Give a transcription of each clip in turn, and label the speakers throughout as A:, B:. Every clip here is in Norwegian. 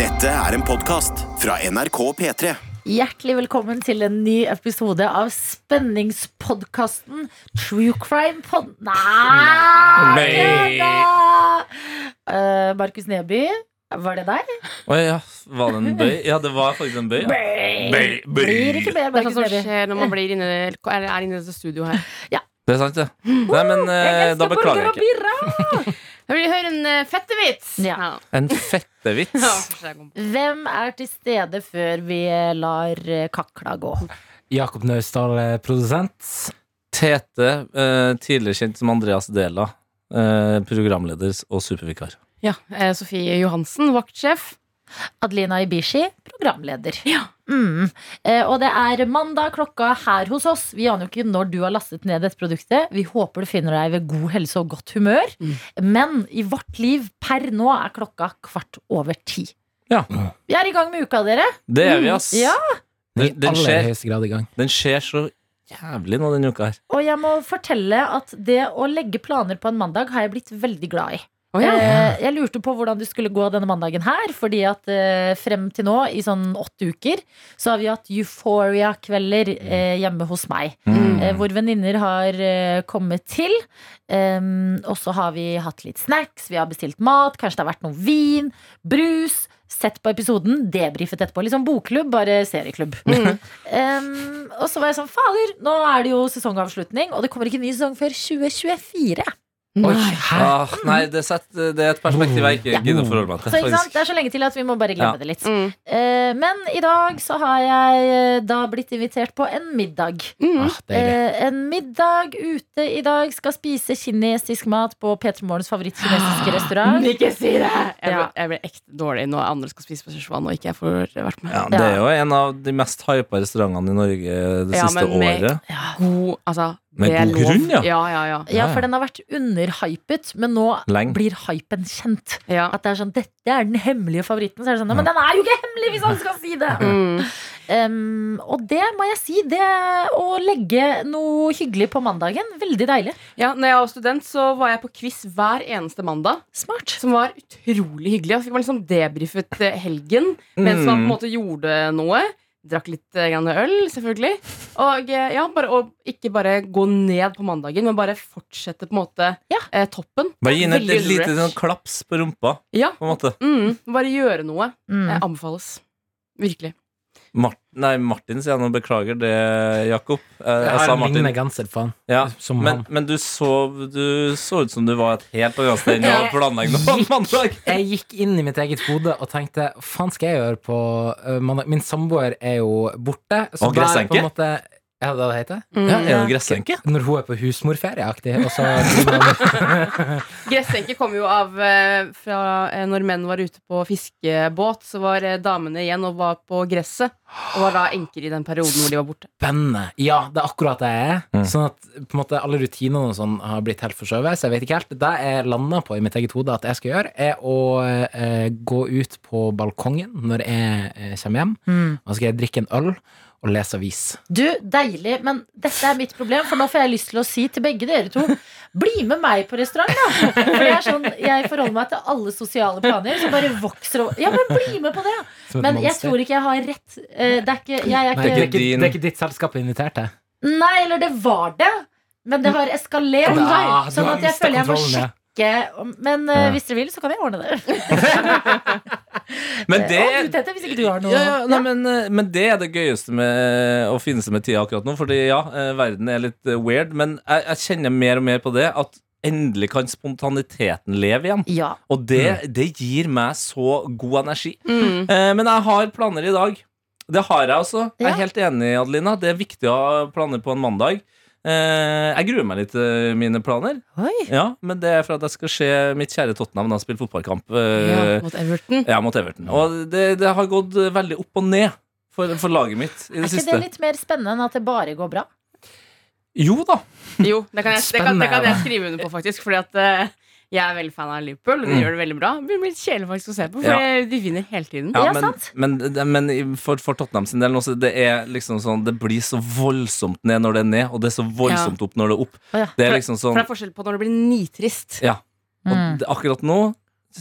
A: Dette er en podcast fra NRK P3.
B: Hjertelig velkommen til en ny episode av spenningspodkasten True Crime Pod... Nei!
C: Nei.
B: Kødda! Eh, Markus Neby, var det deg?
C: Å ja, var det en bøy? Ja, det var faktisk en bøy. Ja.
B: Blir ikke mer
D: Det er
B: Markus
D: sånn som
B: Neby.
D: skjer når man blir inne, eller er inne i dette studio her.
C: Det er sant, det. Nei, men eh, da beklager jeg ikke.
D: Jeg vil høre en eh, fettevits.
B: Ja.
C: En fettevits.
D: Ja, for seg.
B: Hvem er til stede før vi lar eh, kakla gå?
E: Jakob Naustdal, eh, produsent.
C: Tete, eh, tidligere kjent som Andreas Dela, eh, programleder og supervikar.
D: ja. eh, Sofie Johansen, vaktsjef.
B: Adelina Ibishi, programleder. Mm. Eh, og det er mandag klokka her hos oss. Vi aner jo ikke når du har lastet ned dette produktet. Vi håper du finner deg ved god helse og godt humør. Men i vårt liv per nå er klokka kvart over ti.
C: Ja.
B: Vi er i gang med uka, dere.
C: Det er vi, ass.
D: Mm,
B: Ja.
E: I
C: Den, den,
E: aller
C: skjer,
E: høyeste grad i gang.
C: den skjer så jævlig nå denne uka her.
B: Og jeg må fortelle at det å legge planer på en mandag har jeg blitt veldig glad i.
D: Å ja.
B: Eh, Jeg lurte på hvordan det skulle gå denne mandagen her, fordi at eh, frem til nå, i sånn åtte uker, så har vi hatt Euphoria-kvelder eh, hjemme hos meg.
D: Mm.
B: eh, hvor venninner har eh, kommet til. Em, og så har vi hatt litt snacks, vi har bestilt mat, kanskje det har vært noe vin, brus. Sett på episoden, debrifet etterpå. Liksom bokklubb, bare serieklubb.
D: Mm.
B: Em, og så var jeg sånn, fader, nå er det jo sesongavslutning, og det kommer ikke en ny sesong før 2024.
D: Nei.
C: Ah, nei, det, setter, det er et perspektiv jeg ikke gidder å forholde meg til.
B: Så ikke sant?
C: Faktisk.
B: Det er så lenge til at vi må bare glemme
C: Ja.
B: det litt.
D: Mm.
B: Eh, men i dag så har jeg eh, da blitt invitert på en middag.
E: Ah, deilig.
B: Eh, en middag ute i dag skal spise kinesisk mat på P3 Morgens favorittkinesiske restaurant.
D: Ikke si det! Jeg ble,
B: Ja.
D: jeg ble ekte dårlig når andre skal spise på Szechuan og ikke jeg får vært med.
C: Ja, det er jo en av de mest hypa restaurantene i Norge det
D: Ja,
C: siste
D: men med-
C: året.
D: God, altså,
C: Med
D: det er
C: god
D: lov.
C: grunn, ja.
D: Ja, ja, ja.
B: Ja, for den har vært underhypet, men nå
C: Lenge.
B: blir hypen kjent.
D: ja.
B: At det er sånn, dette er den hemmelige favoritten. Så er det sånn, Men den er jo ikke hemmelig, hvis han skal si det!
D: Mm.
B: Um, og det må jeg si. Det å legge noe hyggelig på mandagen, veldig deilig.
D: ja, når jeg var student, så var jeg på quiz hver eneste mandag.
B: Smart.
D: Som var utrolig hyggelig. Og så fikk man liksom debrifet eh, helgen
C: Mm.
D: mens man på en måte gjorde noe. Drakk litt eh, grann øl, selvfølgelig. Og eh, ja, bare, og ikke bare gå ned på mandagen, men bare fortsette på en måte
B: Ja.
D: eh, toppen.
C: Bare gi henne et
D: Veldig
C: lite
D: rich.
C: sånn klaps på rumpa,
D: Ja.
C: på en måte.
D: Mm, bare gjøre noe.
B: Mm.
D: Eh, anbefales. Virkelig.
C: Mart nei, Martin sier jeg nå. Beklager det, Jakob. Eh,
E: Jeg
C: jeg
E: har
C: sa
E: en lignende
C: Martin.
E: genser på han.
C: Ja.
E: Som
C: Men,
E: han.
C: men du, så, du så ut som du var et helt annet sted enn jeg hadde planlagt noe på mandag.
E: Jeg gikk inn i mitt eget hode og tenkte hva faen skal jeg gjøre på eh, mandag? Min samboer er jo borte. Så
C: Og
E: da er
C: gressenke.
E: det på en måte Ja, det er det det heter?
D: Mm.
C: Ja, er det gressenke?
E: Når hun er på husmorferieaktig, og så driver man-
D: Gressenke kom jo av eh, fra eh, når menn var ute på fiskebåt, så var eh, damene igjen og var på gresset. Og var da enker i den perioden hvor de var borte.
E: Bandet. Ja, det er akkurat det jeg er.
C: Mm.
E: Sånn at på en måte alle rutinene og sånn har blitt helt forskjøvet. Så jeg vet ikke helt. Det jeg landa på i mitt eget hode at jeg skal gjøre, er å eh, gå ut på balkongen når jeg eh, kommer hjem.
B: Mm.
E: Og så skal jeg drikke en øl og lese avis.
B: Du, deilig, men dette er mitt problem, for nå får jeg lyst til å si til begge dere to Bli med meg på restaurant, da! For jeg, er sånn, jeg forholder meg til alle sosiale planer, så bare vokser over Ja, men bli med på det!
E: Som et
B: Men jeg
E: monster.
B: tror ikke jeg har rett. Eh, Det er ikke, jeg
E: Nei, det,
B: er
E: er
B: ikke
E: ikke,
C: Din-
E: det er ikke ditt selskap jeg er invitert til.
B: Nei, eller det var det, men det har eskalert.
E: Ja, du
B: Sånn
E: har
B: at jeg
E: mistet
B: føler jeg må
E: kontrollen, ja.
B: sjekke om- Men eh, hvis dere vil, så kan jeg ordne det.
C: Men det,
B: Å, du, Tete, hvis ikke du har noe
C: ja, ja, nei, men, eh, men det er det gøyeste med, og fineste med tida akkurat nå. Fordi ja, eh, verden er litt eh, weird, men jeg, jeg kjenner mer og mer på det. At endelig kan spontaniteten leve igjen.
B: Ja.
C: Og det, det gir meg så god energi.
D: Mm.
C: Eh, men jeg har planer i dag. Det har jeg også. Jeg
B: Ja.
C: er helt enig, Adelina. Det er viktig å ha planer på en mandag. Eh, jeg gruer meg litt til mine planer.
B: Oi.
C: Ja, Men det er for at jeg skal se mitt kjære Tottenham da spille fotballkamp.
D: Ja,
C: eh,
D: mot Everton.
C: ja, mot Everton. Og det, det har gått veldig opp og ned for, for laget mitt i
B: Er
C: det
B: ikke
C: siste.
B: det litt mer spennende enn at det bare går bra?
C: Jo da.
D: Jo, det kan jeg, det kan, det kan jeg
E: Spennende.
D: skrive under på, faktisk. Fordi at eh, jeg er veldig fan av Liverpool. og
B: Mm.
D: De gjør det veldig bra. Det blir litt kjedelig faktisk å se på, for
C: Ja.
D: eh, de vinner hele tiden.
B: Ja,
C: men,
B: sant.
C: men, det- men i- for, for Tottenham sin del nå, så det er liksom sånn Det blir så voldsomt ned når det er ned, og det er så voldsomt opp når det er opp.
B: Å, ja.
C: Det er liksom
D: For
C: sånn
D: det er forskjell på når det blir nitrist.
C: Ja. Og
B: Mm.
C: det- akkurat nå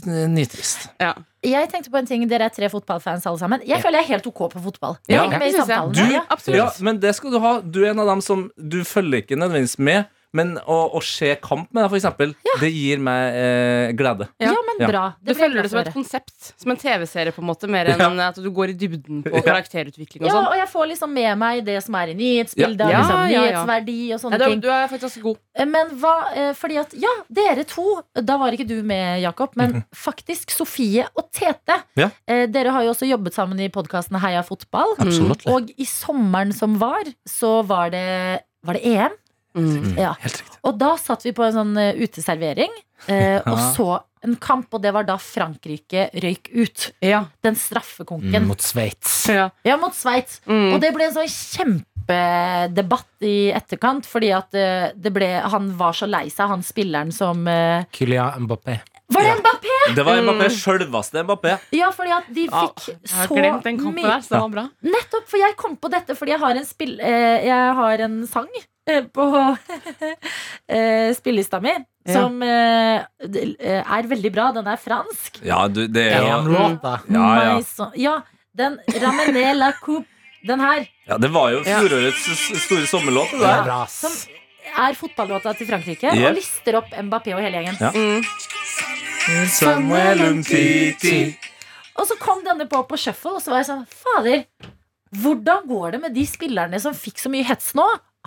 C: Nitrist.
D: Ja.
B: Jeg tenkte på en ting, Dere er tre fotballfans alle sammen. Jeg føler jeg er helt ok på fotball.
C: Ja,
B: Jeg er ikke med i
D: det synes jeg.
B: samtalen.
D: Du-
B: Ja.
D: Absolutt.
C: Ja, men det skal du ha. Du er en av dem som Du følger ikke nødvendigvis med, men å, å se kamp med deg, for eksempel, det gir meg eh, glede.
B: Ja.
D: Ja.
B: men
C: Ja.
B: bra.
D: Du
B: Det blir jeg
D: følger
B: glad
D: det
B: for
D: som
B: å
D: et
B: høre.
D: konsept. Som en TV-serie, på en måte mer enn at du går i dybden på
C: Ja.
D: karakterutvikling og
B: Ja,
D: sånn.
B: og jeg får liksom med meg det som er i nyhetsbildet,
D: Ja.
B: og liksom,
D: Ja, ja, ja.
B: nyhetsverdi og sånne
D: Nei, du, er-
B: ting.
D: du er faktisk ganske god.
B: Men hva, eh, fordi at, ja, dere to Da var ikke du med, Jakob
D: Mhm.
B: Men faktisk Sofie og Tete
C: Ja.
B: eh, Dere har jo også jobbet sammen i podcasten Heia fotball
C: Absolutt.
B: Og i sommeren som var Så var det, var det EM
D: Mm.
B: Ja.
C: Helt riktig.
B: Og da satt vi på en sånn eh, uteservering eh, Og
C: Ja.
B: så en kamp Og det var da Frankrike røyk ut
D: Ja.
B: Den straffekonken
E: Mm, mot Sveits.
D: ja.
B: Ja, mot Schweiz
D: Mm.
B: og det ble en sånn kjempedebatt i etterkant, fordi at eh, det ble, han var så lei seg, han spilleren som eh,
E: Kylian Mbappé.
B: Var det Mbappé?!
C: Det var Mbappé.
B: Mm.
C: Sjølveste Mbappé.
B: Ja, fordi at de
D: Ja,
B: fikk
D: jeg har
B: så
D: glemt den kampen
B: mye
D: der, så det var bra.
B: Nettopp, for jeg kom på dette fordi jeg har en, spill, eh, jeg har en sang eh, på eh, spillelista mi
D: Ja.
B: som eh, d- eh, er veldig bra. Den er fransk.
C: Ja, du, det er jo
E: EM-låta.
C: Ja, ja.
B: My son- ja den Ramené la coupe, den her,
C: ja, Det var jo
D: Ja.
C: fjorårets s- store sommerlåt.
E: Det
C: Det
E: er
C: der.
E: bra,
B: Sånn
E: ass.
B: er fotballåta til Frankrike
C: Yep.
B: og lister opp Mbappé og hele gjengen.
C: Ja.
D: Mm.
C: Samuel Umtiti.
B: Og så kom denne på på shuffle, og så var jeg sånn Fader, hvordan går det med de spillerne som fikk så mye hets nå?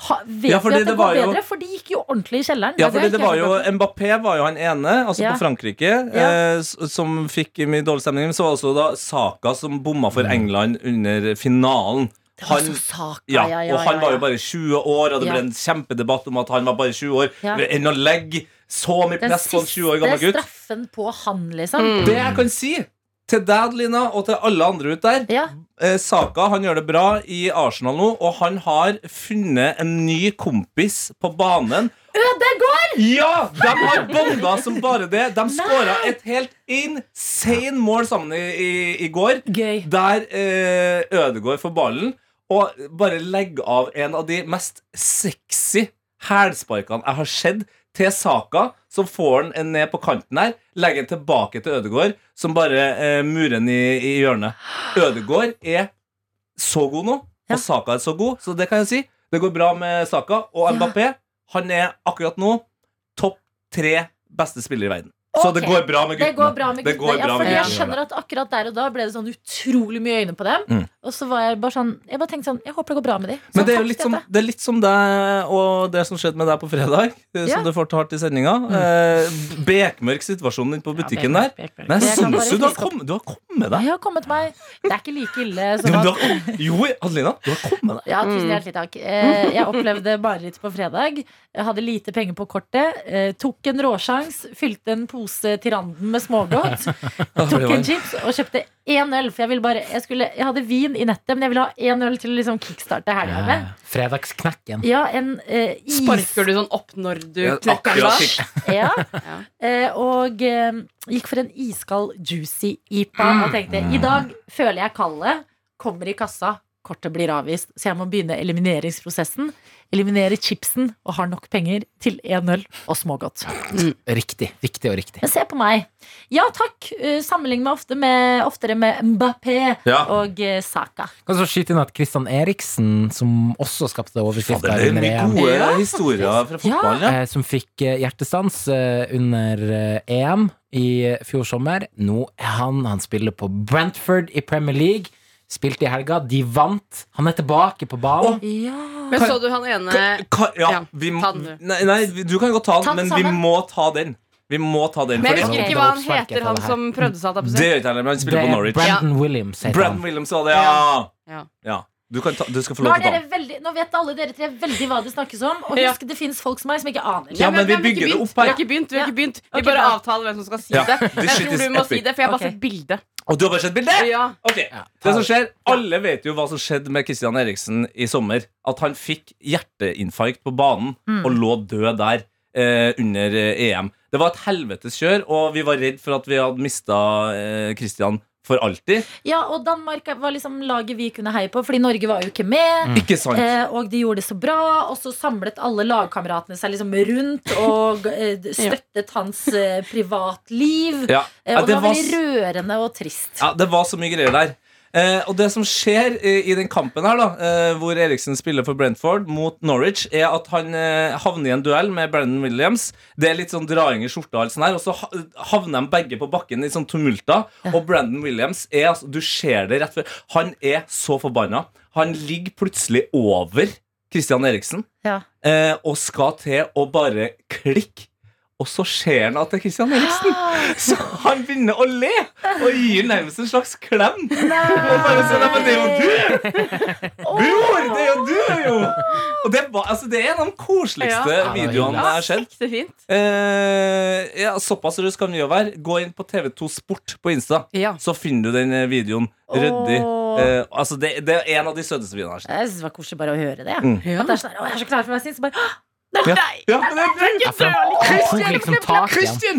B: Ha, vet
C: Ja,
B: vi
C: fordi
B: at det,
C: det var
B: går
C: jo-
B: bedre? For de gikk jo ordentlig i kjelleren.
C: Ja,
B: Det
C: fordi
B: er
C: det
B: helt
C: var jo
B: klart.
C: Mbappé var jo han ene, altså
B: Ja.
C: på Frankrike, eh, s- som fikk mye dårlig stemning. Men så var det også da Saka som bomma for England under finalen.
B: Det var
C: Han,
B: så saka,
C: ja, og han var
B: ja.
C: jo bare 20 år, og det
B: Ja.
C: ble en kjempedebatt om at han var bare 20 år.
B: Ja.
C: Enn å legge så mye
B: Den
C: press på en 20 år gammel
B: siste
C: gutt.
B: straffen på han, liksom.
D: Mm.
C: Det jeg kan si til deg, Lina, og til alle andre ut der
B: Ja.
C: eh, Saka han gjør det bra i Arsenal nå, og han har funnet en ny kompis på banen. Ødegård! Ja! De har bonda som bare det. De skåra et helt insane mål sammen i, i, i går,
B: Gøy.
C: der eh, Ødegård får ballen. Og bare legg av en av de mest sexy hælsparkene jeg har sett, til Saka, som får den en ned på kanten her. Legger den tilbake til Ødegård, som bare eh, murer den i, i hjørnet. Ødegård er så god nå,
B: Ja.
C: og Saka er så god, så det kan jeg si. Det går bra med Saka. Og
B: Ja.
C: Mbappé, han er akkurat nå topp tre beste spillere i verden. Så
B: Ok.
C: det går bra med
B: Det
C: guttene.
B: går bra med
C: Det
B: guttene.
C: går
B: Ja,
C: bra
B: fordi
C: med
B: jeg
C: guttene.
B: skjønner at akkurat der og da ble det sånn utrolig mye øyne på dem.
C: Mm.
B: Og så var jeg bare sånn Jeg bare tenkte sånn Jeg håper det går bra med de. Så
C: Men det er jo
B: takk
C: litt sånn-
B: til
C: som,
B: dette.
C: det er litt som deg og det som skjedde med deg på fredag. eh,
B: Ja.
C: Som du fortalte i sendinga. Eh, bekmørk situasjonen inne på butikken der. Men
B: Det
C: jeg
B: kan
C: syns
B: bare
C: jo du
B: friske
C: har,
B: opp.
C: kommet, du har kommet deg.
B: Jeg har kommet meg Det er ikke like ille
C: Du,
B: som at
C: du har, jo, Adelina, du har kommet deg.
B: Ja, tusen
D: Mm.
B: hjertelig takk. Eh, jeg opplevde mareritt på fredag. Jeg hadde lite penger på kortet. Eh, tok en råsjans, fylte en pose til randen med smågodt. Tok en chips og kjøpte én øl. For jeg, ville bare, jeg, skulle, jeg hadde vin i nettet, men jeg ville ha én øl til å liksom kickstarte helga med.
E: Eh, Fredagsknekken.
B: Ja, en eh, is.
D: Sparker du sånn opp når du
C: Ja,
D: knekker
C: akkurat
D: deg?
C: slik.
B: Ja.
D: Ja.
B: Eh, og eh, gikk for en iskald juicy IPA og tenkte
C: Mm.
B: i dag føler jeg kallet, kommer i kassa, kortet blir avvist. Så jeg må begynne elimineringsprosessen. Eliminere chipsen og har nok penger til én øl og smågodt.
E: Riktig. Riktig og riktig.
B: Men se på meg. Ja takk. Eh, Sammenlign meg ofte med, oftere med Mbappé
C: Ja.
B: og eh, Saka.
E: Kan så skyte inn at Christian Eriksen, som også skapte
C: Fader,
E: overskrifter
C: det er
E: under
C: mye
E: EM,
C: gode
D: Ja,
C: historier fra fotballen. Ja.
E: eh, som fikk eh, hjertestans eh, under eh, EM i eh, fjor sommer. Nå er han Han spiller på Brentford i Premier League. Spilte i helga, de vant. Han er tilbake på banen.
B: Ja.
D: Men så du han ene
C: Ka, ja,
D: Ja,
C: vi,
D: ta den,
C: nei, nei, du kan godt ta
B: Ta
C: den,
B: den
C: men vi
B: sammen.
C: må ta den. Vi må ta den.
D: Men jeg
C: Fordi,
D: husker
B: Ok.
D: ikke hva han
E: Det var oppsparket
D: heter, han
E: for det her.
D: som prøvde seg. holdt jeg på å si.
C: det gjør ikke jeg heller, men han
E: det
C: spiller på
E: er
C: Norwich.
E: Brandon Williams, heter
C: Brandon
E: han.
C: Williams var det, ja.
D: Ja.
C: ja. Du, kan ta, du skal få
B: Nå,
C: lov
B: er
C: til å ta
B: dere
C: den.
B: veldig, nå vet alle dere tre veldig hva det snakkes om, og
D: Ja.
B: husk det fins folk som meg som ikke aner.
C: Ja, men vi
D: har ikke
C: bygger det
D: begynt.
C: opp her.
D: Vi har ikke begynt, vi, har ikke begynt. vi
B: Ok,
D: bare
B: bra.
D: avtaler hvem som skal si
C: Ja.
D: det.
C: This
D: Jeg
C: shit
D: tror
C: is
D: du må si
C: epic.
D: det, for jeg har bare
B: Ok.
D: sett bildet.
C: Og du har bare sett bildet?
D: Ja.
C: Ok,
E: ta
C: det som
E: det.
C: skjer Alle vet jo hva som skjedde med Kristian Eriksen i sommer. At han fikk hjerteinfarkt på banen og lå død der. eh, under eh, EM. Det var et helvetes kjør, og vi var redd for at vi hadde mista eh, Christian for alltid.
B: Ja, og Danmark var liksom laget vi kunne heie på, fordi Norge var jo ikke med.
C: Ikke sant?
B: Eh, og de gjorde det så bra, og så samlet alle lagkameratene seg liksom rundt og eh, støttet hans eh, privatliv.
C: Ja.
B: Eh,
C: Ja,
B: og det var
C: s-
B: veldig rørende og trist.
C: Ja, det var så mye greier der. Eh, og det som skjer eh, i den kampen her, da, eh, hvor Eriksen spiller for Brentford mot Norwich, er at han eh, havner i en duell med Brandon Williams. Det er litt sånn draing i skjorta, og alt sånt her, og så ha- havner de begge på bakken i sånn tumulter. Og Brandon Williams er altså, Du ser det rett før. Han er så forbanna. Han ligger plutselig over Christian Eriksen
B: Ja.
C: eh, og skal til å bare klikke. Og så ser han at det er Christian Eriksen. Så han begynner å le og gir nærmest en slags klem. Og bare sånn, «Nei, men det er jo du! Bror, det er jo du, jo! Og det, var, altså, det er en av de koseligste
D: Ja.
C: videoene jeg har sett.
D: Ekte fint.
C: Eh, ja, såpass rød kan vi jo være. Gå inn på TV2 Sport på Insta,
D: Ja.
C: så finner du den eh, videoen. Ryddig.
B: Åh.
C: Eh, altså, det, det er en av de søteste videoene jeg har sett.
B: Jeg synes det var koselig bare å høre det.
C: Mm.
B: At det er sånn, her, å, jeg er så klar for meg sin, så bare, «Åh,
C: Ja. Ja, men det er
E: Ja, for han tok liksom tak i han.
C: Christian!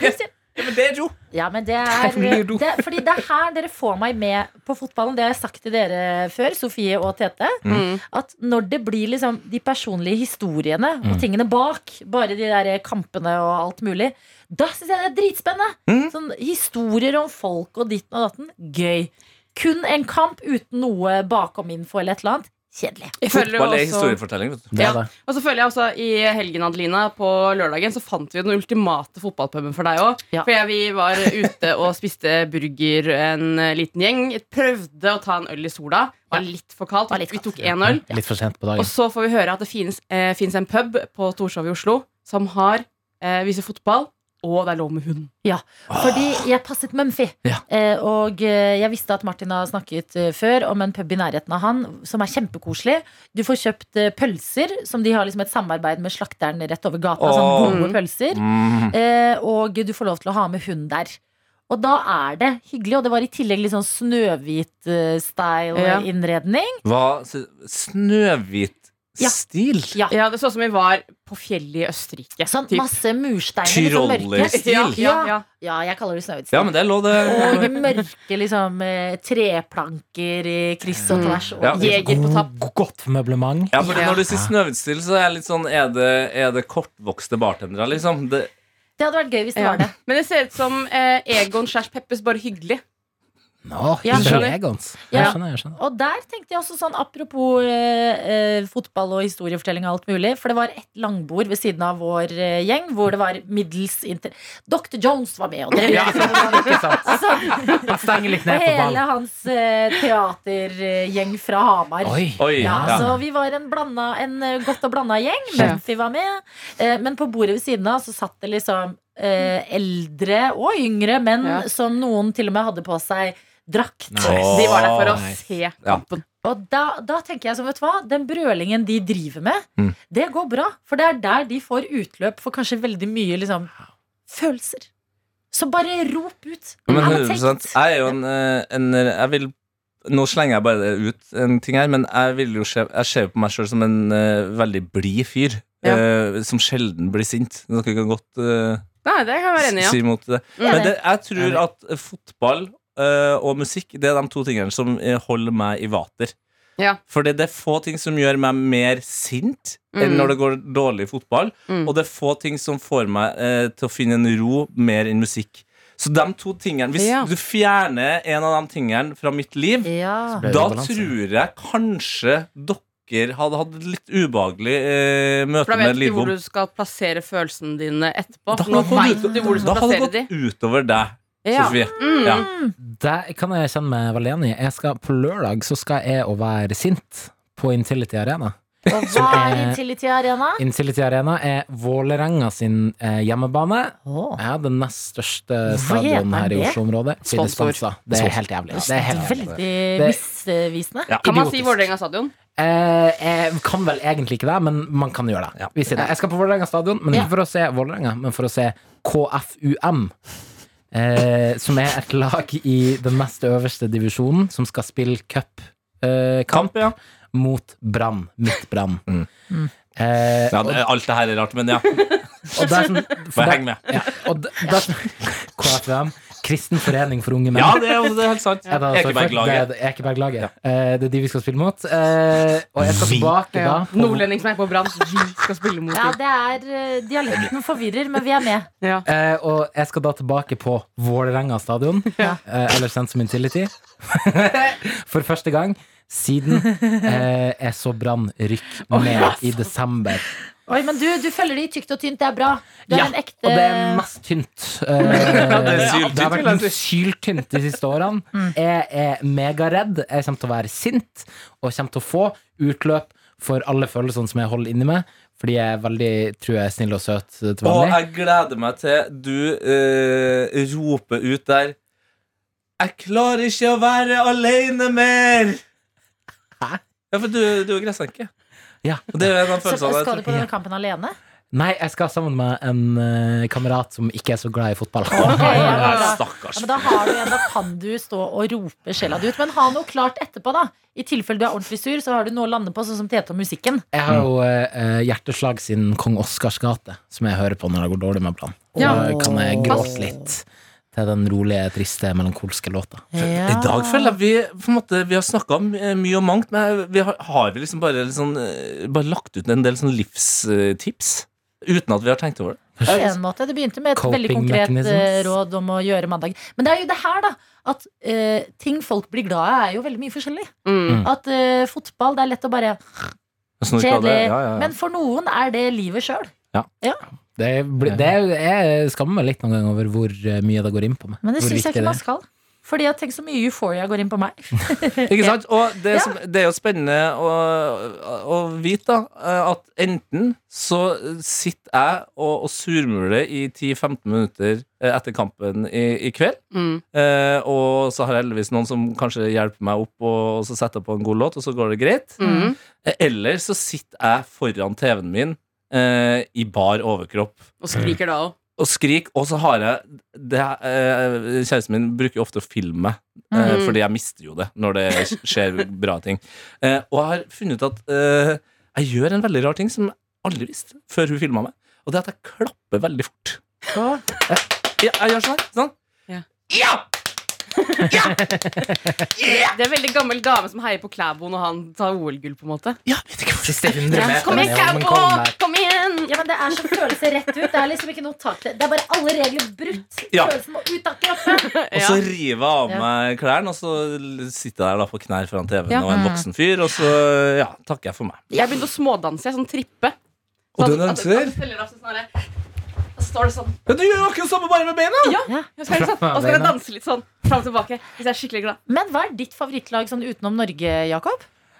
B: Christian!
C: Ja, men det er jo
B: Ja, men det er, det, fordi det er her dere får meg med på fotballen. Det har jeg sagt til dere før, Sofie og Tete.
D: Mm.
B: At når det blir liksom de personlige historiene
C: Mm.
B: og tingene bak, bare de der kampene og alt mulig, da syns jeg det er dritspennende.
C: Mm.
B: Sånn historier om folk og ditten og datten. Gøy. Kun en kamp uten noe bakominfo eller et eller annet. Kjedelig.
D: Jeg føler jo
C: Fotball er
D: også
C: historiefortelling, vet du.
E: Det er det.
D: Og så føler jeg også I helgen Adelina, på lørdagen så fant vi jo den ultimate fotballpuben for deg òg.
B: Ja.
D: For jeg- vi var ute og spiste burger, en eh, liten gjeng. Prøvde å ta en øl i sola. Var litt for kaldt.
B: Var litt
D: Vi
B: kaldt.
D: tok én øl.
E: Litt for sent på
D: Og
E: dagen.
D: så får vi høre at det finnes, eh, finnes en pub på Torshov i Oslo som har eh, viser fotball, og det er lov med hund.
B: Fordi jeg passet Mumphy.
C: Ja.
B: Eh, og eh, jeg visste at Martin har snakket eh, før om en pub i nærheten av han som er kjempekoselig. Du får kjøpt eh, pølser, som de har liksom et samarbeid med slakteren rett over gata.
C: Åh.
B: Sånn gode pølser.
C: Mm.
B: Eh, og du får lov til å ha med hund der. Og da er det hyggelig, og det var i tillegg litt sånn eh,
D: Ja.
B: Snøhvit-style-innredning.
C: Hva? s- Snøhvit-stil?
B: Ja.
D: Ja, Det så ut som vi var på fjellet i Østerrike.
B: Sånn
D: typ.
B: masse mursteiner. Liksom, mørke.
C: Tyroller.
D: ja, ja, ja.
B: Ja, jeg kaller det snøhvit.
C: Ja, men det er lov,
B: Og
C: det.
B: mørke liksom, eh, treplanker i kryss og tvers. Og
C: Ja.
D: Jeger på tapp.
E: God- Godt møblement.
C: Ja, fordi
D: Ja.
C: Når du sier Snøhvit-stil, så er jeg litt sånn Er det, er det kortvokste bartendere, liksom? Det,
B: Det hadde vært gøy hvis det var det.
D: Men det ser ut som eh, Egon Skjærs Peppes, bare hyggelig.
E: Nå,
B: Ja,
E: ikke
D: skjønner.
E: Legans.
B: Ja.
E: Jeg skjønner, jeg skjønner.
B: Og der tenkte jeg også sånn apropos eh, eh, fotball og historiefortelling og alt mulig, for det var et langbord ved siden av vår eh, gjeng hvor det var middels inter... Dr. Jones var med, og dere
E: Ja, ikke sant.
B: altså,
E: Han stenger litt
B: Og
E: ned på
B: hele
E: ballen.
B: hans eh, teatergjeng fra Hamar.
E: Oi.
C: oi!
B: Ja,
E: Ja.
B: Så vi var en, blanda, en eh, godt og blanda gjeng.
D: Ja.
B: Mumphy var med. Eh, men på bordet ved siden av så satt det liksom eh, eldre og yngre menn
D: Ja.
B: som noen til og med hadde på seg drakt.
E: Nice.
D: De var der for å
E: Nice.
D: se kampen.
B: Og da, da tenker jeg som, vet du hva, den brølingen de driver med,
C: Mm.
B: det går bra. For det er der de får utløp for kanskje veldig mye liksom, følelser. Så bare rop ut.
C: Men
B: I'm
C: 100
B: ticked.
C: Jeg er jo en, eh, en jeg vil, Nå slenger jeg bare det ut en ting her, men jeg, vil jo se, jeg ser jo på meg sjøl som en eh, veldig blid fyr.
D: Ja.
C: eh, som sjelden blir sint. Dere kan godt eh,
D: Nei, det kan jeg være enig i. Ja.
C: si imot det.
B: Enig.
C: Men det, jeg tror at fotball eh, og musikk Det er de to tingene som eh, holder meg i vater.
D: Ja.
C: For det er få ting som gjør meg mer sint enn
D: Mm.
C: når det går dårlig i fotball.
D: Mm.
C: Og det er få ting som får meg eh, til å finne en ro mer enn musikk. Så de to tingene Hvis
D: Ja.
C: du fjerner en av de tingene fra mitt liv,
B: Ja.
E: Ble det
C: da
E: balanse?
C: tror jeg kanskje dere hadde hatt et litt ubehagelig eh,
D: For
C: møte
D: da vet
C: med
D: du hvor
C: Lidbom.
D: du skal plassere følelsene dine etterpå.
C: Da
D: Nå
C: hadde
D: vet
C: det
D: du hvor du
C: da
D: skal
C: hadde
D: plassere de.
C: det gått utover deg,
D: Ja.
C: Sofie.
D: Mm.
C: Ja.
E: Det kan jeg kjenne meg veldig enig i. Jeg skal- På lørdag så skal jeg å være sint på Intility Arena.
B: Og hva er
E: eh,
B: Intility Arena?
E: Intility Arena er Vålerenga sin eh, hjemmebane. Ja, den nest største stadion
B: heter
E: her i
B: det?
E: Oslo-området. Sier
D: Sponsor.
E: Sponsa. Det er helt jævlig. Det er helt jævlig.
B: Veldig
E: Det-
B: misvisende.
C: Ja.
D: Kan man si
E: Idiotisk.
D: Vålerenga stadion?
E: Eh, jeg kan vel egentlig ikke det, men man kan gjøre det. Vi sier det. Jeg skal på Vålerenga stadion, men
B: Ja.
E: ikke for å se Vålerenga, men for å se KFUM. Eh, som er et lag i den nest øverste divisjonen, som skal spille cupkamp eh, kamp
C: Kamp, ja. Mm.
E: mot Brann. Mitt Brann. Eh,
C: Ja, det, alt det her er rart, men ja.
E: og dersom,
C: Bare heng med.
E: Ja, og d- dersom, KFUM, Kristen forening for unge menn.
C: Ja, det er, det er helt sant.
E: Er det altså
C: Ekeberglaget.
E: Det er Ekeberglaget. Eh, det er de vi skal spille mot. Eh, og jeg skal
C: Vi.
E: tilbake da.
D: Ja.
E: på-
D: Nordlending som er på Brann, vi skal spille mot
B: Ja,
D: dem.
B: det er eh, Dialekten forvirrer, men vi er med.
D: Ja.
E: Eh, og jeg skal da tilbake på Vålerenga stadion,
D: Ja.
E: eh, eller Sense Intility, for første gang siden eh, jeg så Brann rykke ned i desember.
B: Oi, Men du, du følger de i tykt og tynt. Det er bra. Du er
E: Ja,
B: en ekte
E: Og det er mest tynt. Eh,
C: det er syltynt,
E: det har
C: vil jeg
E: vært syltynt de siste årene. Jeg er megaredd. Jeg kommer til å være sint, og kommer til å få utløp for alle følelsene som jeg holder inni meg, fordi jeg er veldig, tror jeg er snill og søt til
C: Og
E: vanlig.
C: jeg gleder meg til du eh, roper ut der Jeg klarer ikke å være aleine mer!
E: Hæ?
C: Ja, for du, du er gressenke.
E: Ja.
C: Og det er jo en av
B: Så
C: følelsene
B: skal du
C: jeg-
B: på denne kampen alene?
E: Nei, jeg skal sammen med en eh, kamerat som ikke er så glad i fotball.
B: Ja,
C: Nei,
B: da. Ja,
C: Stakkars.
B: men da, har du en, da kan du stå og rope sjela di ut. Men ha noe klart etterpå, da. I tilfelle du er ordentlig sur, så har du noe å lande på, sånn som Tete og musikken.
E: Jeg har jo eh, hjerteslag sin Kong Oscars gate, som jeg hører på når det går dårlig med planen. Og
D: Ja.
E: da kan jeg
B: Pass.
E: gråte litt til den rolige, triste, melankolske låta.
C: I dag føler jeg vi på en måte, Vi har snakka mye om mangt, men vi har, har vi liksom bare, litt sånn, eh, bare lagt ut en del sånn livstips? Uten at vi har tenkt over det.
B: På en måte. Det begynte med et
E: Coping
B: veldig konkret
E: mechanisms.
B: eh, råd om å gjøre mandag. Men det er jo det her, da. At eh, ting folk blir glad av, er jo veldig mye forskjellig.
D: Mm.
B: At eh, fotball, det er lett å bare
C: Sånn at vi ikke hadde-
B: Kjedelig.
C: Ja, ja, ja.
B: Men for noen er det livet sjøl.
E: Det, blir- det, er- jeg skammer meg litt noen ganger over hvor eh, mye det går inn på meg.
B: Men det
E: Hvor
B: syns jeg
E: viktig
B: ikke man
E: det er.
B: skal. Fordi at tenk så mye euphoria går inn på meg.
C: Ikke sant? Og det,
B: Ja.
C: som, det er jo spennende å, å vite da, eh, at enten så sitter jeg og, og surmuler i 10-15 minutter eh, etter kampen i, i kveld,
D: Mm.
C: eh, og så har jeg heldigvis noen som kanskje hjelper meg opp, og, og så setter jeg på en god låt, og så går det greit.
D: Mm.
C: Eh, Eller så sitter jeg foran TV-en min eh, i bar overkropp
D: Og skriker da òg.
C: og skrik, og så har jeg det, eh, Kjæresten min bruker jo ofte å filme, eh,
D: Mm.
C: fordi jeg mister jo det når det skjer bra ting. Eh, og jeg har funnet ut at eh, jeg gjør en veldig rar ting som jeg aldri visste før hun filma meg, og det er at jeg klapper veldig fort. Ja, jeg gjør sånn. her, sånn.
D: Ja.
C: ja!
D: Det er veldig gammel dame som heier på Klæbo når han tar OL-gull, på en måte.
C: Ja, jeg vet ikke hvorfor.
E: Siste 100 meter.
D: Kom igjen,
E: men
D: Klæbo!
E: kom der.
D: Kom igjen!
B: Ja, men Det er så følelse rett ut. Det er liksom ikke noe tak til. Det er bare alle regler brutt.
C: Ja.
B: Følelsen må ut av kroppen.
C: Og så
D: Ja.
C: river jeg av
B: Ja.
C: meg klærne, og så sitter jeg der da på knær foran TV-en
D: Ja.
C: og en voksen fyr, og så ja, takker jeg for meg.
D: Jeg begynte å smådanse. jeg, Sånn trippe.
C: Og
D: Sånn
C: du
D: at-
C: danser?
D: at du steller deg sånn her. Og så står det sånn.
C: Men du gjør jo akkurat samme bare med beina!
D: Jeg skal, sånn. Og så skal jeg danse litt sånn fram og tilbake hvis jeg er skikkelig glad.
B: Men hva er ditt favorittlag sånn utenom Norge, Jakob?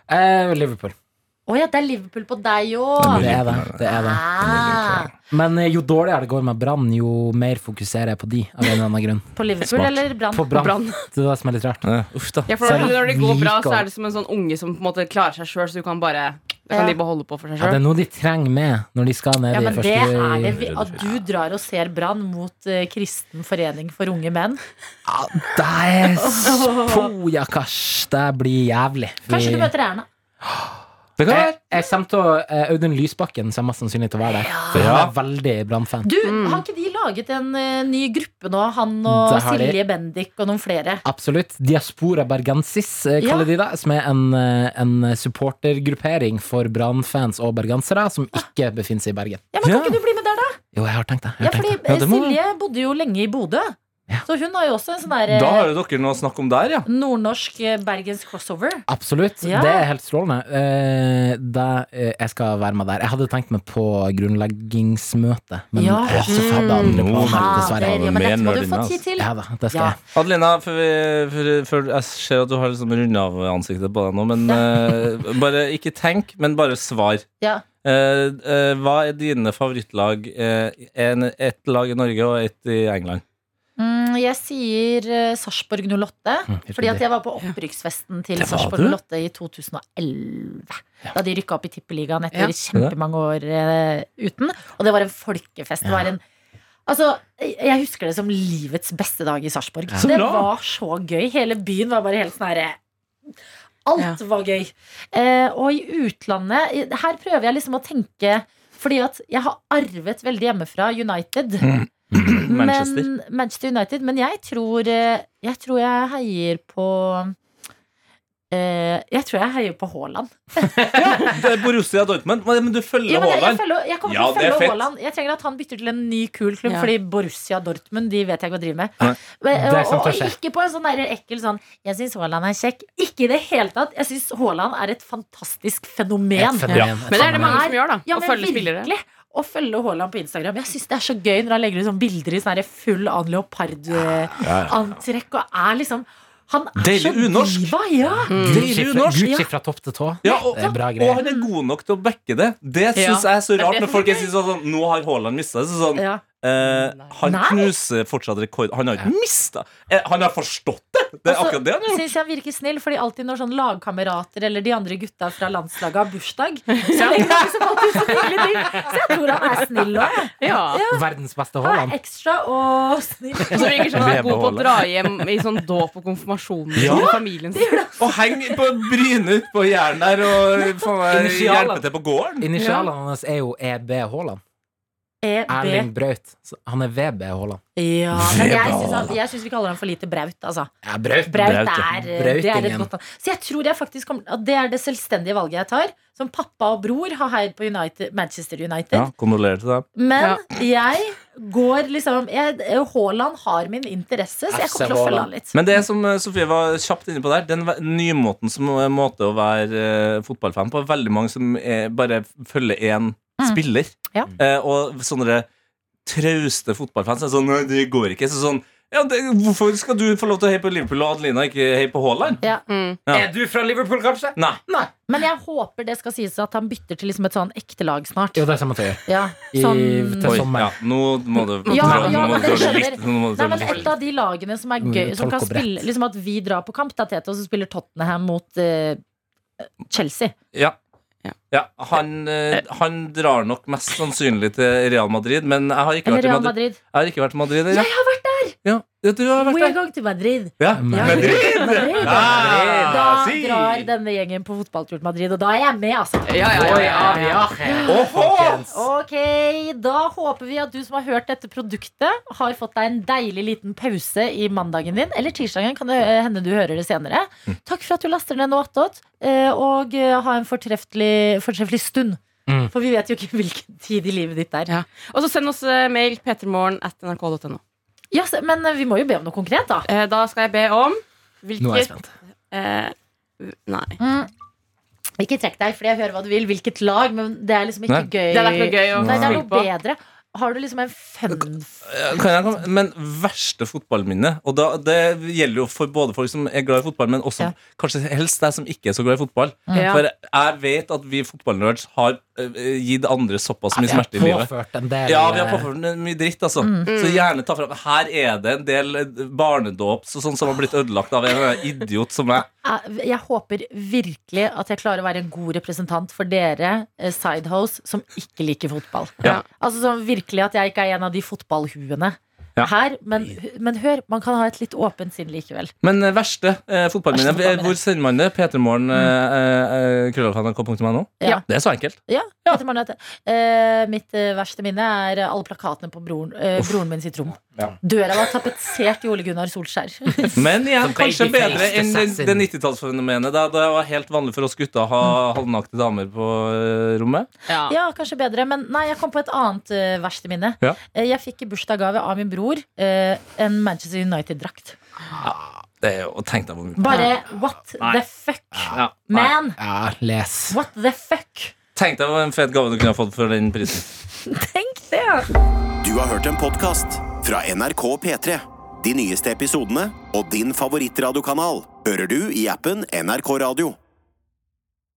E: Eh, Liverpool.
B: Å ja, det er Liverpool på deg
E: Det
B: òg.
E: er det. det, er det.
B: Ah,
E: Men eh, jo dårligere det går med Brann, jo mer fokuserer jeg på de. Av en eller annen grunn
B: på Liverpool
C: Smart.
B: eller Brann?
E: På Brann.
D: Brann.
E: Det er det som er litt rart.
C: Eh, Uff da.
D: Ja, for
E: Så
D: når,
E: er det
D: når det går bra,
E: like
D: så er det som en sånn unge som på en måte klarer seg sjøl, så du kan bare Da
B: Ja.
D: kan de bare holde på for seg
E: Ja, det
D: sjøl.
E: er noe de trenger med når de skal ned
B: Ja,
E: i
B: men det
E: første
B: er det vi- At du drar og ser Brann mot eh, Kristen forening for unge menn.
E: Ja, det er spoja, kars. Det blir jævlig.
B: Kanskje du
E: Vi-
B: møter Erna.
C: Det kan
E: jeg,
C: være.
E: jeg kommer til å eh, Audun Lysbakken kommer mest sannsynlig til å være der. For han
C: Ja.
E: er veldig Brann-fan.
B: Du,
C: Mm.
B: Har ikke de laget en eh, ny gruppe nå? Han og
E: Det har de.
B: Silje Bendik og noen flere.
E: Absolutt. Diaspora Bergensis eh, kaller de det. Som er en, eh, en supportergruppering for Brann-fans og bergensere som
B: Ah.
E: ikke befinner seg i Bergen.
B: Ja, men
C: Ja.
B: Kan ikke du bli med der, da?
E: Jo, jeg har tenkt det. Jeg
B: Ja,
E: har tenkt
B: fordi eh,
E: det.
C: Ja, det må-
B: Silje bodde jo lenge i Bodø.
E: Ja.
B: Så hun har jo også en sånn der
C: Da har
B: eh,
C: jo dere noe å snakke om der, ja.
B: nordnorsk eh, Bergens crossover.
E: Absolutt.
B: Ja.
E: Det er helt strålende. Eh, da, eh, jeg skal være med der. Jeg hadde tenkt meg på grunnleggingsmøte, men
B: Ja.
E: jeg har så faen det andre
C: Mm.
E: planer,
B: Fader,
E: dessverre.
B: ja, Ah, men dette må
C: Mer
B: du få
C: nerdinne,
B: tid til.
E: Ja da, det skal
B: Ja.
E: jeg.
C: Adelina, før vi, før- før- jeg ser at du har liksom runda av ansiktet på deg nå, men eh, bare ikke tenk, men bare svar.
B: Ja.
C: Eh, eh, hva er dine favorittlag? Eh, en, ett lag i Norge og ett i England.
B: Mm, jeg sier eh, Sarpsborg 08.
C: Mm,
B: Fordi at jeg var på opprykksfesten til
C: Det var
B: Sarpsborg
C: du?
B: 08 i 2011. Da de rykka opp i Tippeligaen etter
D: Ja.
B: kjempemange år eh, uten. Og det var en folkefest. Det var en Altså, Jeg husker det som livets beste dag i Sarpsborg.
E: Ja.
B: Det
C: bra.
B: var så gøy. Hele byen var bare helt sånn herre Alt var gøy. Eh, og i utlandet i- Her prøver jeg liksom å tenke fordi at jeg har arvet veldig hjemmefra United.
C: Mm. Manchester.
B: Men, Manchester United. Men jeg tror eh, Jeg tror jeg heier på eh, Jeg tror jeg heier på Haaland.
C: Det er Borussia Dortmund. Men, men du følger
B: Ja, men jeg, jeg,
C: Haaland.
B: følger, jeg kommer
C: Ja,
B: til
C: det er
B: å følge
C: fett.
B: Haaland. Jeg trenger at han bytter til en ny kul klubb,
D: Ja.
B: fordi Borussia Dortmund De vet jeg ikke hva driver med.
C: Nei.
B: Men,
E: Det er
B: og,
E: sant,
B: og,
E: det skjer.
B: ikke på en sånn der ekkel sånn 'Jeg syns Haaland er kjekk'. Ikke i det hele tatt. Jeg syns Haaland er et fantastisk fenomen.
E: Et fenomen,
D: Men det er
E: et
D: det
E: fenomen.
D: mange som gjør, da.
B: Ja,
D: å
B: men
D: følge spillere.
B: virkelig å følge Haaland på Instagram. Jeg syns det er så gøy når han legger ut sånne bilder i sånn her full Ann Leopard-antrekk og er liksom Han er
C: Deilig
B: så
C: unorsk. Mm.
B: diva, ja!
E: Gucci fra-
C: norsk.
E: Gucci fra topp til tå.
C: Ja, og,
E: Det er bra
C: og
E: greier.
C: han er god nok til å backe det. Det syns jeg er så
D: Det er
C: rart når
D: det som er
C: folk
D: gøy.
C: sier sånn sånn, Nå har Haaland mista det. Så sånn,
B: ja.
C: eh, han
B: Nei.
C: knuser fortsatt rekord. Han har ikke mista eh, Han har forstått det! Det er
B: Og så
C: akkurat det han har gjort.
B: Synes jeg han virker snill, fordi alltid når sånn lagkamerater eller de andre gutta fra landslaget har bursdag, så legger han liksom alltid sånne hyggelige ting. Så jeg tror han er snill òg, jeg.
D: Ja.
E: Verdens beste
B: Han er
E: Haaland.
B: ekstra og snill.
D: Og så virker det som sånn han er god på å
C: Vedbeholde.
D: dra hjem i sånn dåp og konfirmasjon med
C: Ja.
D: familien sin.
C: Og henger på brynet ut på hjernen der og faen meg,
E: Initialer.
C: hjelper til på gården.
E: Initialene hans er jo EB Haaland.
B: EB.
E: Erling Braut. Så Han er VB Haaland.
B: E, Ja, men jeg syns han- jeg syns vi kaller han for lite braut, altså.
E: Ja, Braut.
B: Braut
C: Braut,
B: er, eh, det er et
E: Brautingen.
B: godt navn. Så jeg tror jeg faktisk kommer, at det er det selvstendige valget jeg tar. Som pappa og bror har heiet på United, Manchester United.
C: Kondolerer til dem.
B: Men jeg går liksom jeg, Haaland har min interesse, så jeg
E: FC
B: kommer til å følge
E: Haaland.
B: han litt.
C: Men det som eh, Sofie var kjapt inne på der, den ve- nymåten som eh, måte å være eh, fotballfan på, veldig mange som eh, bare følger én spiller.
B: Mm. Ja.
C: Eh, og sånne der trauste fotballfans er sånn Nei, det går ikke. Så sånn ja, det, Hvorfor skal du få lov til å heie på Liverpool og Adelina ikke heie på Haaland?
B: Ja.
D: Mm.
C: Ja.
E: Er du fra Liverpool, kanskje?
C: Nei.
B: Men jeg håper det skal sies at han bytter til liksom et sånn ekte lag snart.
E: Jo, det er samme tøy.
B: Ja,
E: I-
B: sånn
E: til
C: Oi,
E: sommeren.
C: ja, nå må du
B: Ja,
C: nå må
B: ja, men
C: du
B: jeg
C: gjøre det
B: skjønner.
C: litt. Nå må du
B: Nei,
C: gjøre
B: men
C: det
B: Et
C: litt.
B: av de lagene som er gøy Som kan
E: Tolk og brett.
B: spille Liksom at vi drar på kamp da, Tete, Og så spiller Tottenham mot eh, Chelsea
C: Ja.
D: Ja.
C: Ja, han, eh, han drar nok mest sannsynlig til Real Madrid, men jeg har ikke
B: Eller
C: vært i
B: Real
C: Madrid.
B: Madrid
C: Jeg har ikke vært i Madrid Jeg har vært der! Ja, ja du har
B: We're
C: vært der.
B: going to Madrid
C: Ja.
B: Ja,
E: Madrid.
B: Madrid.
C: Ah,
B: Da
C: si.
B: drar denne gjengen på fotballtur til Madrid Og da er jeg med altså
D: Ja, ja, ja, ja, ja.
E: Folkens.
B: Ok, da håper vi at du som har hørt dette produktet, har fått deg en deilig liten pause i mandagen din. Eller tirsdagen, kan det eh, hende du hører det senere. Takk for at du laster ned Noatot, og eh, ha en fortreffelig, fortreffelig stund.
E: Mm.
B: For vi vet jo ikke hvilken tid i livet ditt er.
D: Ja. Og så send oss eh, mail p3morgen at nrk.no.
B: Ja, se- men eh, vi må jo be om noe konkret, da.
D: Eh, Da skal jeg be om hvilket
E: Nå er jeg spent.
D: eh, Nei.
B: Ikke trekk deg, fordi jeg hører hva du vil. Hvilket lag, men det er liksom ikke
C: Nei.
B: gøy.
D: Det er ikke noe gøy å
B: Nei, det er
D: spille
B: noe
D: på.
B: bedre. Har du liksom en fun
C: eh, Kan jeg komme? Men verste fotballminne Og da, det gjelder jo for både folk som er glad i fotball, men også
B: Ja.
C: kanskje helst deg som ikke er så glad i fotball.
D: Ja.
C: For jeg vet at vi fotballnerds har eh, gitt andre såpass mye smerte i livet.
E: Påført en del
C: Ja, vi har
E: eh,
C: påført den mye dritt, altså.
E: Mm.
C: Så gjerne ta fram Her er det en del eh, barnedåp så sånn som har blitt ødelagt av en eller annen idiot som meg.
B: Jeg Eh, jeg håper virkelig at jeg klarer å være en god representant for dere, eh, Sidehouse, som ikke liker fotball.
D: Ja.
B: Altså sånn virkelig at jeg ikke er en av de fotballhuene
C: Ja.
B: her. Men, men hør, man kan ha et litt åpent sinn likevel.
C: Men eh, verste eh, fotballminne,
B: Verste fotballminne.
C: hvor sender man det?
E: Mm.
C: P3morgen, eh, eh, krøllalfa.nrk.no?
B: Ja.
C: Det er så enkelt.
B: Ja, vet du hva det heter? Eh, mitt eh, verste minne er alle plakatene på broren, eh, broren min sitt rom.
C: Ja.
B: Døra var tapetsert i Ole Gunnar Solskjær.
C: Men igjen,
E: Som
C: kanskje
E: babyface
C: bedre enn
E: assassin.
C: det 90-tallsfenomenet. Da det var helt vanlig for oss gutter å ha halvnakte damer på eh, rommet.
D: Ja.
B: ja, kanskje bedre, men nei, jeg kom på et annet eh, verste minne.
C: Ja.
B: Eh, jeg fikk i bursdagsgave av min bror eh, en Manchester United-drakt.
C: Det er jo Tenk deg hvor mye
B: Bare what the fuck?
C: ja. Nei.
B: Man,
E: eh, Ja, les.
B: what the fuck?
C: Tenk deg hvor en fet gave du kunne ha fått for den prisen.
B: Tenk det!
A: Du har hørt en podcast fra NRK P3. De nyeste episodene og din favorittradiokanal hører du i appen NRK Radio.